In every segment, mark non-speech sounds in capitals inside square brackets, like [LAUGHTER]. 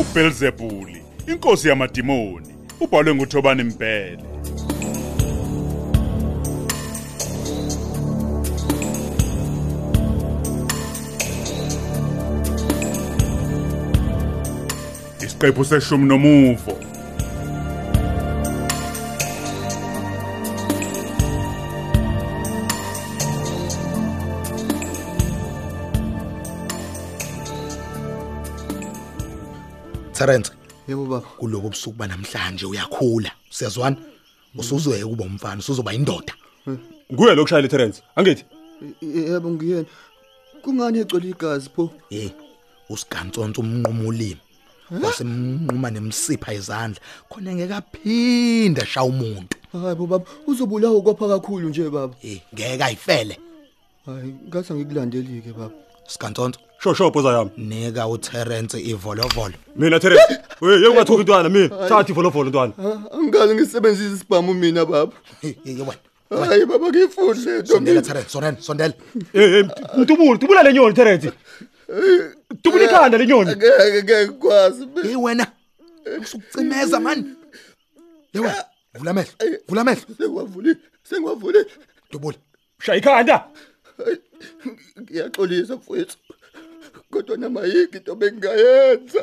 uBelzebuli inkosi yamadimoni ubhalwe nguThobani Mbhele isiqephu seshumi nomuvo Terence yebo baba kulobu busuku banamhlanje uyakhula siyazwana usuzoyeka uba umfana usuzoba indoda nguye lo kushayela Terence angithi Ye- yebo ngiyena kungani egcwele igazi pho hey usigantsonto umnqumo ulimi wasemnquma nemsipha izandla khona ngeke aphinda shaya umuntu hayi bo baba uzobulawa ukwapha kakhulu nje baba hey ngeke ayifele hayi ngase ngikulandeli-ke baba sigantsonto shoshopho zayami nika uTerence ivolovolo mina Terence hey yekungathuki intwana mina thathi ivolovolo intwana Ah, angikaze ngisebenzise isibhamu mina baba hey hey, wena hayi baba ngiyifudle sondela Terence sondela sondela hey hey, Eh, ntubule ntubula lenyoni Terence ntubula ikhanda lenyoni ngeke ngeke kwazi hey wena usukucimeza man hey wena vula amehlo vula amehlo sengiwavule sengiwavule dubula shaya ikhanda Hayi, ngiyaxolisa mfowethu kodwa namayiki into bengingayenza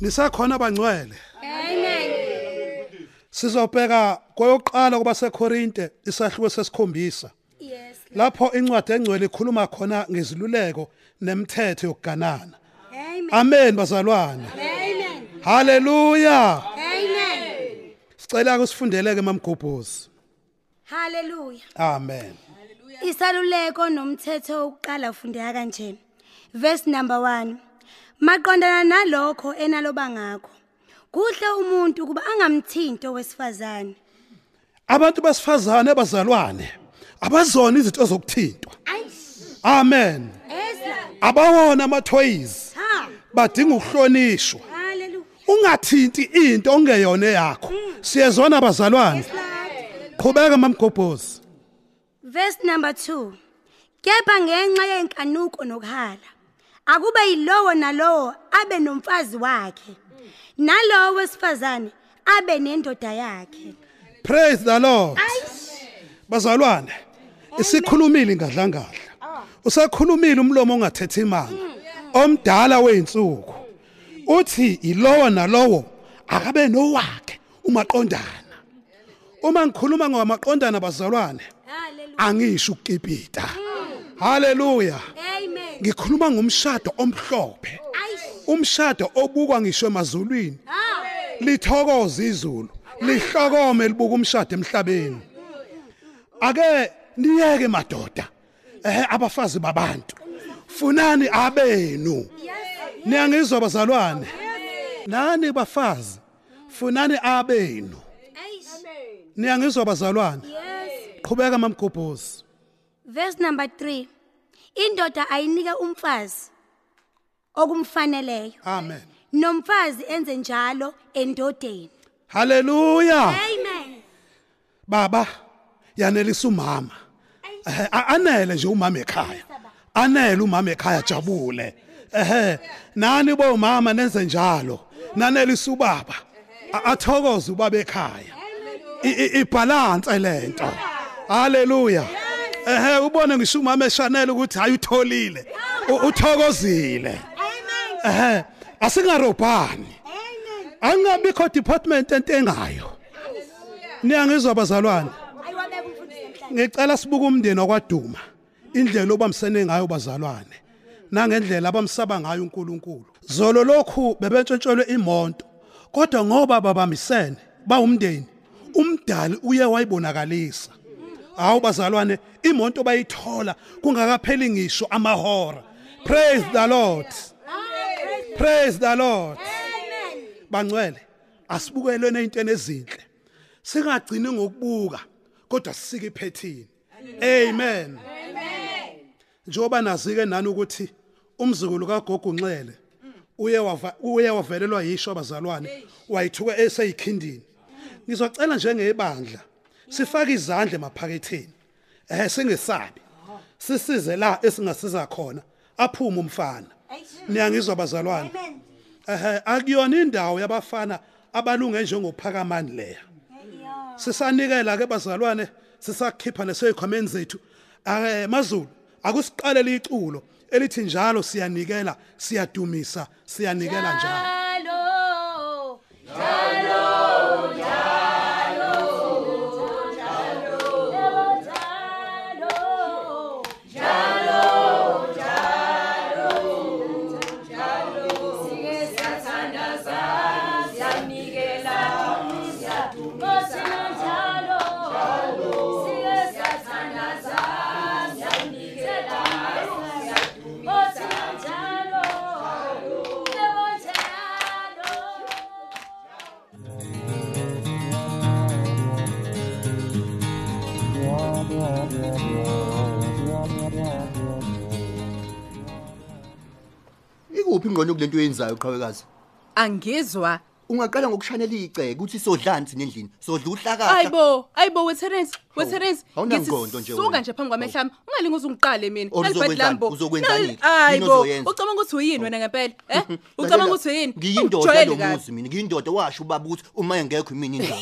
nisekhona abangcwele sizobheka kweyokuqala kuba sekorinte isahluko sesikhombisa Yes. lapho incwadi engcwele ikhuluma khona ngeziluleko nemithetho yokuganana Amen. amen bazalwane Amen. haleluya Amen. sicela ukusifundeleke mamgubhuzi Hallelujah. amen Isaluleko nomthetho oqala ufundeka kanjena. Verse number 1. Maqondana nalokho enaloba ngakho. Kuhle umuntu kuba angamthinto wesifazane. abantu besifazane bazalwane abazona izinto ezokuthintwa Ayish. amen Esa. abawona amathoyizi Ha. badinga ukuhlonishwa Hallelujah. ungathinti into ongeyona yakho siyezona bazalwane qhubeka mamgobhozi Verse number 2. Kepha ngenxa yenkanuko nokuhala akube yilowo nalowo abe nomfazi wakhe nalowo wesifazane abe nendoda yakhe. praise the lord bazalwane isikhulumile ingadlangadla Ah. usekhulumile umlomo ongathethi imanga omdala weinsuku uthi yilowo nalowo akabe nowakhe umaqondana uma ngikhuluma ngomaqondana bazalwane Hallelujah. Hmm. angisho ukukipita haleluya Amen. ngikhuluma ngomshado omhlophe Ayish. umshado obukwa ngisho emazulwini Ah. Ha. lithokoza izulu lihlokome libuka umshado emhlabeni ake niyeke madoda eh abafazi babantu funani abenu niyangizwa bazalwane nani bafazi funani abenu Ayish. niyangizwa bazalwane Yes. qhubeka mamgobhozi Verse number 3. Indoda ayinike umfazi okumfaneleyo. amen Nomfazi enze njalo endodeni. haleluya Amen. baba yanelisa umama ehe a- anele nje umama ekhaya anele umama ekhaya jabule ehe nani bomama nenze njalo nanelisa ubaba A- athokoze ubaba ekhaya I- i- ibalance lento haleluya ehe ubone ngisho umama eshanele ukuthi hayi utholile u- uthokozile Amen. ehe asingarobhani Amen. angabikho department entengayo niyangizwa bazalwane Ayiwabeka umfundisi namhlanje. ngicela sibuke umndeni wakwaduma indlela obamsene ngayo bazalwane nangendlela abamsaba ngayo uNkulunkulu zolo lokhu bebentshontshelwe imonto kodwa ngoba babambisene bawumndeni umdali uye wayibonakalisa hawu bazalwane imonto bayithola kungakapheli ngisho amahora praise the lord praise the lord Amen. bangcwele asibukelweni ezintweni ezinhle singagcini ngokubuka kodwa sisike iphethini amen njoba nazike nani ukuthi umzukulu kagogo Nxele uye wava uye wavelelwa yisho abazalwane wayithuka eseyikhindini ngizocela njengebandla sifake izandla emaphaketheni eh singesabi sisize la esingasiza khona aphume umfana niyangizwa bazalwane Amen. ehe akuyona indawo yabafana abalunge njengophakamani leya Ayo. sisanikela ke bazalwane sisakhipha neseyikhwameni zethu ake mazulu akusiqalele iculo elithi njalo siyanikela siyadumisa siyanikela njalo Hello. Hello. Hello. ikuphi ingqondo kulento oyenzayo qhawekazi angizwa ungaqala ngokushanela igceke ukuthi sodlanzi nendlini sodla uhlakahla ayibo ayibo wetherensi wetherensi awunamqondo nje wena. suka nje phambi kwamehla ami ungalingi uze ungiqale mina Or Nalibhadi uzokwenzani? lambo. Uzokwenzani? Nali- Yini ayibo ozoyenza? ucabanga ukuthi uyini wena ngempela um ucabanga Lalela, ukuthi uyini ngiyindoda Ungijwayele kabi. [LAUGHS] lomuzi mina ngiyindoda washo ubaba ukuthi uma engekho mina indoda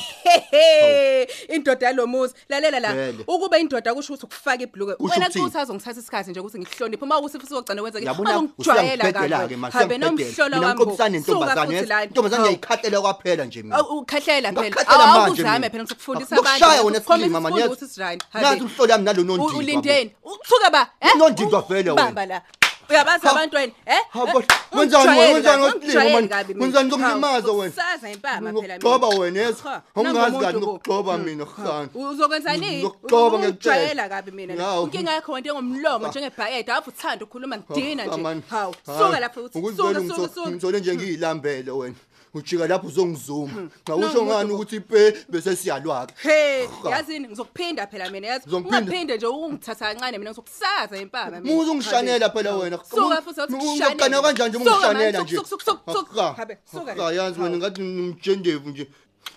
Hehe, indoda yalomuzi lalela la Vele. ukuba indoda kusho ukuthi ukufaka ibhluke Kusho wena ukuthini? kuthi azongithatha isikhathi nje ukuthi ngihloniphe uma ukuthi futhi uzogcina wenza Yabona, usiyangibhedela-ke ma, hambe usiyangibhedela. nomhlolo Mina wami bo. ngixoxisane Suka nentombazane, futhi yes? lana. intombazane Hawu. ngiyayikhathalela kwaphela nje mina Awu, ukhahlela phela Ngakukhathela Awu, manje awuzame mina. phela ukuthi kufundisa Ngokushaya wena Khombisa silima, mama, isifundo yes? ukuthi sirayini. Habe. nazi umhloli yami U- nalonondimba ulindeni uthuka ba eh? Unondindwa U- vele bamba wena. la uyabazi Ha. abantu wena eh Ha, Eh? bo- wenzani wena? Ungijwayele Wenzani ngosilima, kabi, ungijwayele man? kabi mina. Wenzani ngokulimaza Hawu, wena? usaza impama phela mina. Ngokugxoba wena, yes? Cha, Awungazi nangu kabi umuntu bo. ngokugxoba Mm. mina, Ha. Hasani. uzokwenza Ngokugxoba ngekutshela. nijwayela kabi mina la. Hawu. inkinga yakho wento engomlomo njengebhayede alafu uthanda ukukhuluma Ah, ngidina nje hawu suka lapho uthi suka suka suka ngithole nje ngiyilambele wena ujika lapho uzongizuma xa Nangu usho umuntu ngani bo. ukuthi pe bese siyalwaka Hey, Ha. yazini ngizokuphinda phela mina yazi. Uzongiphinda? Ungaphinde nje ungithatha kancane mina ngizokusaza impama mina. muze ungishanela phela Hawu. wena Suka futhi uthi ungaqana kanjani nje ungishanela nje Suka suka. Habe, suka. Ha, yazi wena Hawu. ngathi ngimjendevu nje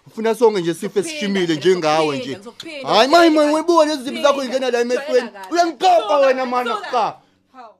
ufuna sonke nje sife Ngizokuphinda sishimile phela, njengawe ngizokuphinda, nje ngizokuphinda, hayi maye mani ngizokuphinda. webuka lezi zimbi zakho Ngizokuphinda. yingena la emehlweni Ngizokuphinda. uyangikopa Suka, wena mani suka. ha Hawu.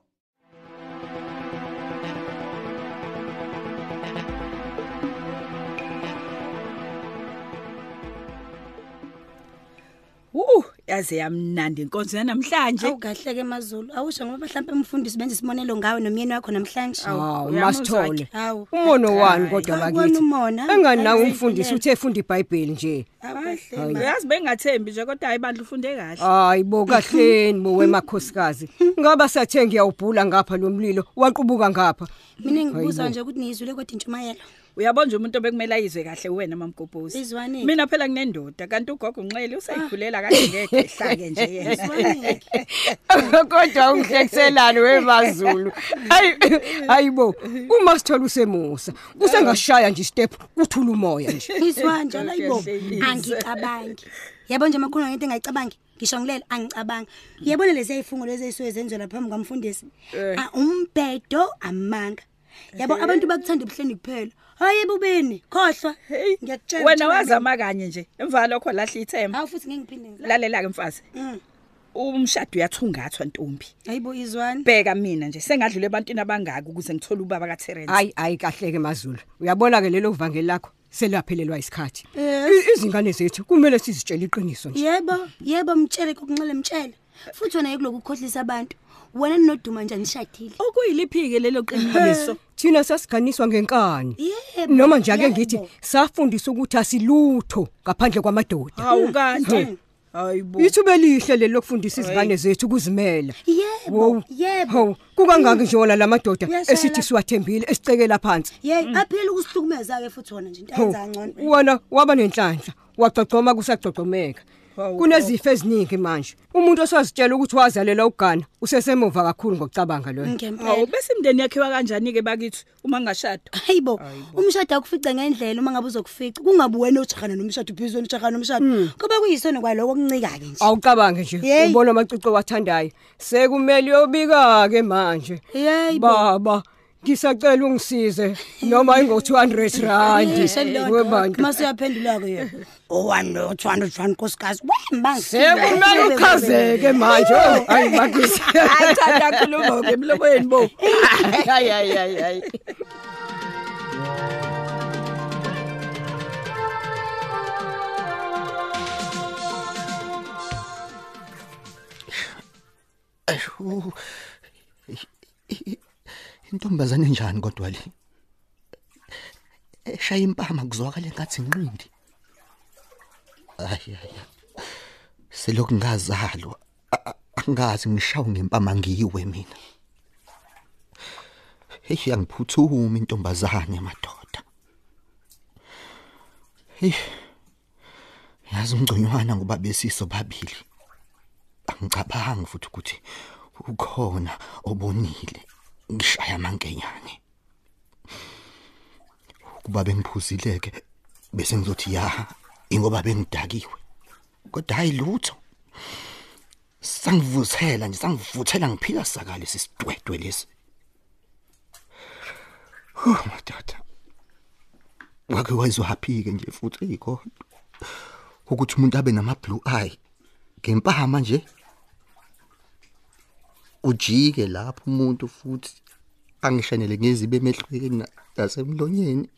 Uh, yaze yamnandi inkonzo yanamhlanje. awukahle-ke mazulu awusho ngoba mhlawumpe umfundisi benza isibonelo ngawe nomyeni wakho namhlanje Hawu, Uyamuzwa masithole. ke? hawu Umono wani Hayi, kodwa awuboni bakithi? umona Engani nawe Hayi, umfundisi uthe efunda iBhayibheli nje. awukahle Hayi. ma. yazi bengathembi nje kodwa hayi bandla ufunde kahle Hayi bo kahleni bo wemakhosikazi. Ngoba sathe ngiyawubhula ngapha lo mlilo waqubuka ngapha. mina ngibuza nje ukuthi niyizwile kodwa intshumayelo uyabona nje umuntu obekumele ayizwe kahle uwena mamgobhozi izwane mina phela kunendoda kanti ugogo unxele Ah. usayikhulela kahle ngeke ehlake nje yena [LAUGHS] Kodwa ungihlekiselani wemazulu. Hayi hayibo uma sithola usemusa usengashaya nje step kuthula umoya [LAUGHS] nje. izwa njalo ayibo Uyahlekisa. angicabangi yabo nje makhulu ngento engayicabangi ngisho ngilela angicabangi uyabona lezi yayifungo lezi ey'suke zenzelwa phambi kwamfundisi Eh, Ah, umbhedo amanga yabo abantu bakuthanda ebuhleni kuphela hhayi ebubeni khohlwa Ngiyakutshela, wena ngitshela mina. wazama kanye nje emva lokho lahle ithemba hawu futhi ngeke ngiphinde ngizale. lalela-ke mfazi Mm. umshado uyathungathwa ntombi hayibo izwane bheka mina nje sengadlula ebantwini abangaki ukuze ngithole ubaba katerence Hayi hayi kahle ke mazulu. Uyabona ke lelo vangeli lakho selaphelelwa isikhathi. Eh. I- Izingane zethu kumele sizitshele iqiniso nje. yebo yebo mtshele kokunxele mtshele futhi wena yekulokhu ukhohlisa abantu wena ninoduma nje nishadile okuyiliphike [LAUGHS] lelo qiniso Eh, Thina sasiganiswa ngenkani. yebo Noma nje ake ngithi yebo. safundiswa ukuthi asilutho ngaphandle kwamadoda. Hmm, hawu kanti hayi bo Ithuba elihle lelo kufundisa izingane zethu ukuzimela. yebo Wow. yebo Hmm. Hawu, kukangaki nje wona lamadoda Uyashaya esithi la. siwathembile esicekela phansi. Mm. yeyi aphile ukusihlukumeza-ke futhi wona nje into Hawu, ayenza ngcono Wona waba nenhlanhla, wagcogcoma kusagcogcomeka. Kunezifo eziningi manje. Umuntu osazitshela ukuthi wazalela ugana usesemuva kakhulu ngokucabanga lo. hawu ngempela bese imndeni yakhiwa kanjani-ke bakithi uma ngashada hayibo umshado akufice ngendlela uma ngabe uzokufica kungabe wena ojahana nomshado ubhizweni ujahana nomshado Hmm. kuba kuyisono kwaloko okuncika-ke nje Awucabange nje Yeyi. ubona amacici owathandayo sekumele uyobika ke manje yeyi baba ngisacela ungisize noma ingo200 rand mase uyaphendula-ke yena o-one lo two hundred rand nkosikazi sekumele uchazeke manje Oh, hayi makisi Hayi thanda khuluma ke emlobeni bo. hayi hayi hayi hayi Asho. uh. Intombazane enjani kodwa le? Eshaya impama kuzwakala engathi inqindi. Hayi hayi. Selokhu ngazalwa. a- a- Angazi ngishawu ngempama ngiyiwe mina. Hey yangiphuthuma intombazane madoda. Hey. Yazi umgconywana ngoba besiso babili. angicabangi futhi ukuthi ukhona obonile ngishaya amankenyane ukuba bengiphuzileke bese ngizothi ya ingoba bengidakiwe kodwa hayi lutho sangivuthela nje sangivuthela ngiphila sakale sisidwedwe lesi Oh madada wake wayizohaphike nje futhi ikhona ukuthi umuntu abe nama blue eye ngempama nje ujike lapho umuntu futhi angishanele ngezibe emehlweni na- nasemlonyeni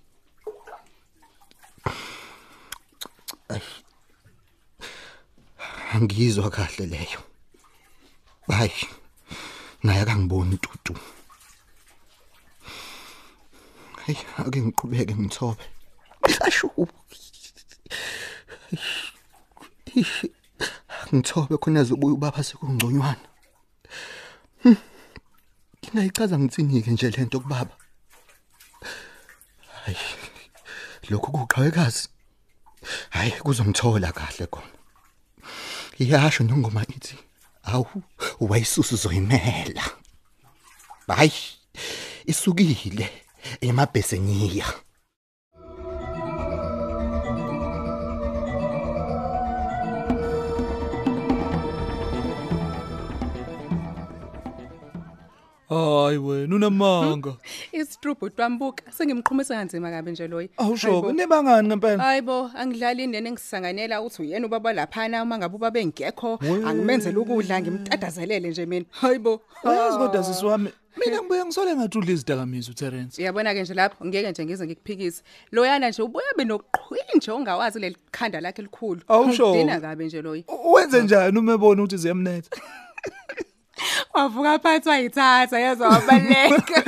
Ayi. angizwa kahle leyo hayi naye akangiboni tutu hayi ake ngiqhubeke ngithobe asho ngithobe khona zobuya ubaba sekungconywana Hmm. ngingayichaza ngithini ke nje lento kubaba hayi lokho kuqhawekazi hayi kuzomthola kahle khona iyasho nongoma ithi awu wayisusu zoyimela hayi isukile emabheseniya hayi wena unamanga Hmm? isitrubhu twambuka sengimqhumisa kanzima kabi nje loyo awushoke nibangani ngempela hayi bo angidlali indeni engisanganela ukuthi uyena ubaba laphana uma ngabe ubaba engekho We. angimenzela ukudla ngimtatazelele nje mina hayi bo uyazi kodwa sisi [LAUGHS] wami mina ngibuye ngisole ngathi udla izidakamizwa uterence uyabona-ke nje lapho ngeke nje ngize ngikuphikise loyana nje ubuye benoqhwili nje ongawazi leli khanda lakhe elikhulu Awusho. Ngidina kabi nje loyo wenze njani uma ebona ukuthi ziyamnetha wavuka phansi wayithatha [LAUGHS] yezwa wabaleka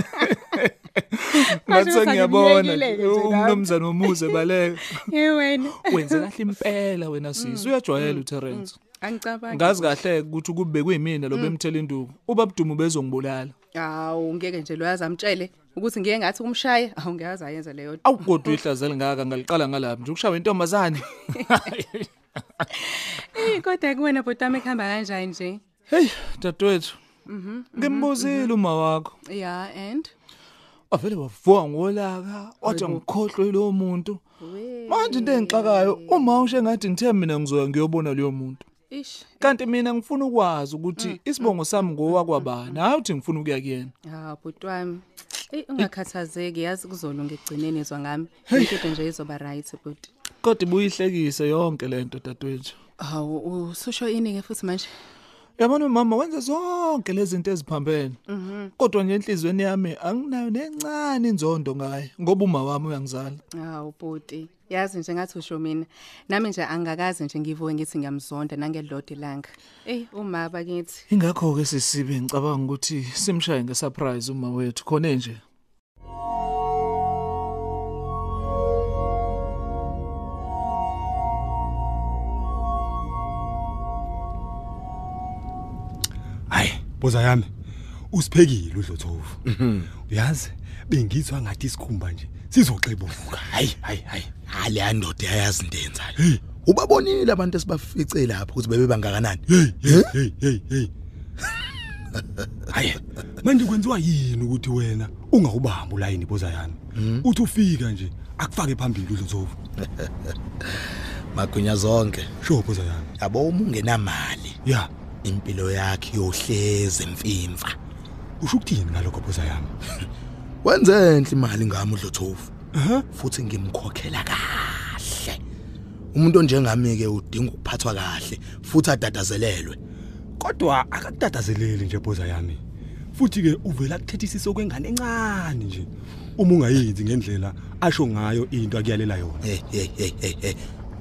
ngathi [LAUGHS] Manje sengiyabona usangimlekile-ke nje, nje lapho. umnumzane womuze [LAUGHS] baleka ye wena wenze kahle impela wena sisi Mm, uyajwayela uterence angicabangi ngazi kahle ukuthi kube kuyimina lo Mm. bemthela induku ubabdumo bezongibulala hawu ngeke nje loyazi amtshele ukuthi ngiye ngathi umshaye awu ngiyazi ayenze leyo nto. awugodwa ihlaze lingaka ngaliqala ngalapha nje ukushawa [LAUGHS] intombazane Eyi, kodwa kuwena bhotami ekuhamba kanjani nje heyi dadewethu Mhm, mhm, ngimbuzile uma wakho mhm. ya and avele wavuka ngolaka wathi Hayibo. angikhohlwe lowo muntu manje into engixakayo uma usho engathi ngithe mina ngizoya ngiyobona leyo muntu ish kanti mina ngifuna ukwazi Mm, ukuthi isibongo sami ngowakwabani hhayi ukuthi ngifuna ukuya kuyena hawu bhotwami eyi ungakhathazeki yazi kuzolunga ekugcineni izwa ngami into nje izoba right but kodwa ibuyihlekise yonke le nto dadewethu hawu ususho ini-ke futhi manje yabona umama wenza zonke lezi zinto eziphambene Mhm. kodwa nje enhliziyweni yami anginayo nencane inzondo ngaye ngoba uma wami uyangizala hawu bhuti yazi nje ngathi usho mina nami nje angakazi nje ngivuke ngithi ngiyamzonda nangelilodwa ilanga eyi uma bakithi ingakho-ke sisibe ngicabanga ukuthi simshaye ngesurprise uma wethu khona nje Boza yami usiphekile uDlothovu. Uyazi bengizwa ngathi isikhumba nje sizoxebuka. Hayi hayi hayi. haleya ndoda yayazi into eyenzayo ubabonile abantu esibafice lapho ukuthi bebe bangakanani Hey hey hey hey. [LAUGHS] Hayi manje kwenziwa yini ukuthi wena ungawubamba ulayini boza yami? Uthi ufika nje akufake phambili uDlothovu. [LAUGHS] magunya zonke sho boza yami yabo uma ungenamali ya impilo yakhe yohleze mfimfa usho ukuthini ngalokho boza yami [LAUGHS] wenze enhle imali ngami uDlothofu futhi ngimkhokhela kahle umuntu onjengami ke udinga ukuphathwa kahle futhi adadazelelwe kodwa akakudadazeleli nje boza yami futhi-ke uvela kuthethisise okwengane encane nje uma ungayenzi ngendlela asho ngayo into akuyalela yona hey hey hey hey hey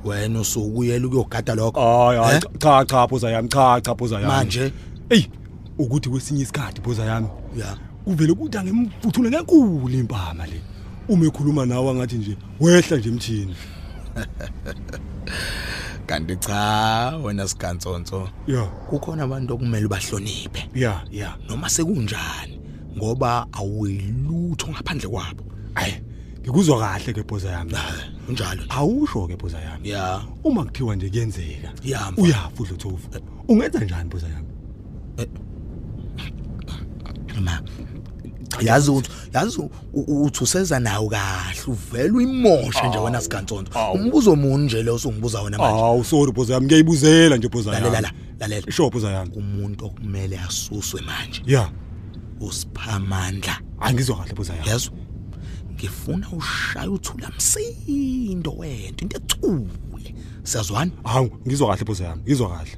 wena usukuyela ukuyogada lokho hayi hayi cha cha boza yami cha cha boza yami Manje? eyi ukuthi kwesinye isikhathi boza yami ya kuvele kuthi angemvuthule ngenkulu impama le uma ekhuluma nawe angathi nje wehla nje [LAUGHS] emthini kanti cha wena sigantsonso ya kukhona abantu okumele bahloniphe ya ya noma sekunjani ngoba awuyilutho ngaphandle kwabo hayi ngikuzwa kahle ke boza yami unjalo awusho ke boza yami ya uma kuthiwa nje kuyenzeka Ya, mfana. uyafa udlothofu ungenza njani boza yami ma yazi ukuthi yazi u- u- uthi useza nawo kahle uvela uyimoshe nje wena sigantsonto umbuzo muni nje lo usungibuza wona manje awu sorry boza yami ngiyayibuzela nje boza yami lalela lalela sho boza yami umuntu okumele asuswe manje ya usiphamandla angizwa kahle boza yami yezwa ngifuna ushaye uthula msindo wento into ethule siyazwana hawu ngizwa kahle boza yami ngizwa kahle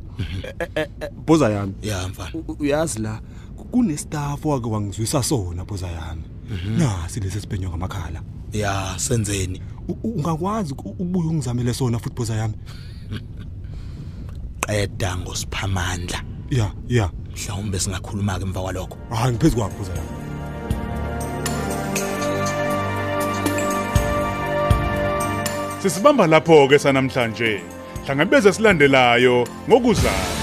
Eh, eh, eh, boza yami ya mfana u- uyazi la ku- kunestafu owake wangizwisa sona boza yami Mhm. nasi lesi sibhenywa ngamakhala ya senzeni U- u- ungakwazi uku- ukubuya ungizamele sona futhi boza yami qeda ngosiphamandla ya ya mhlawumbe singakhuluma ke emva kwalokho hayi ngiphezu kwakho boza yami Sisibamba lapho ke sanamhlanje. Hlangabeze silandelayo ngokuzayo.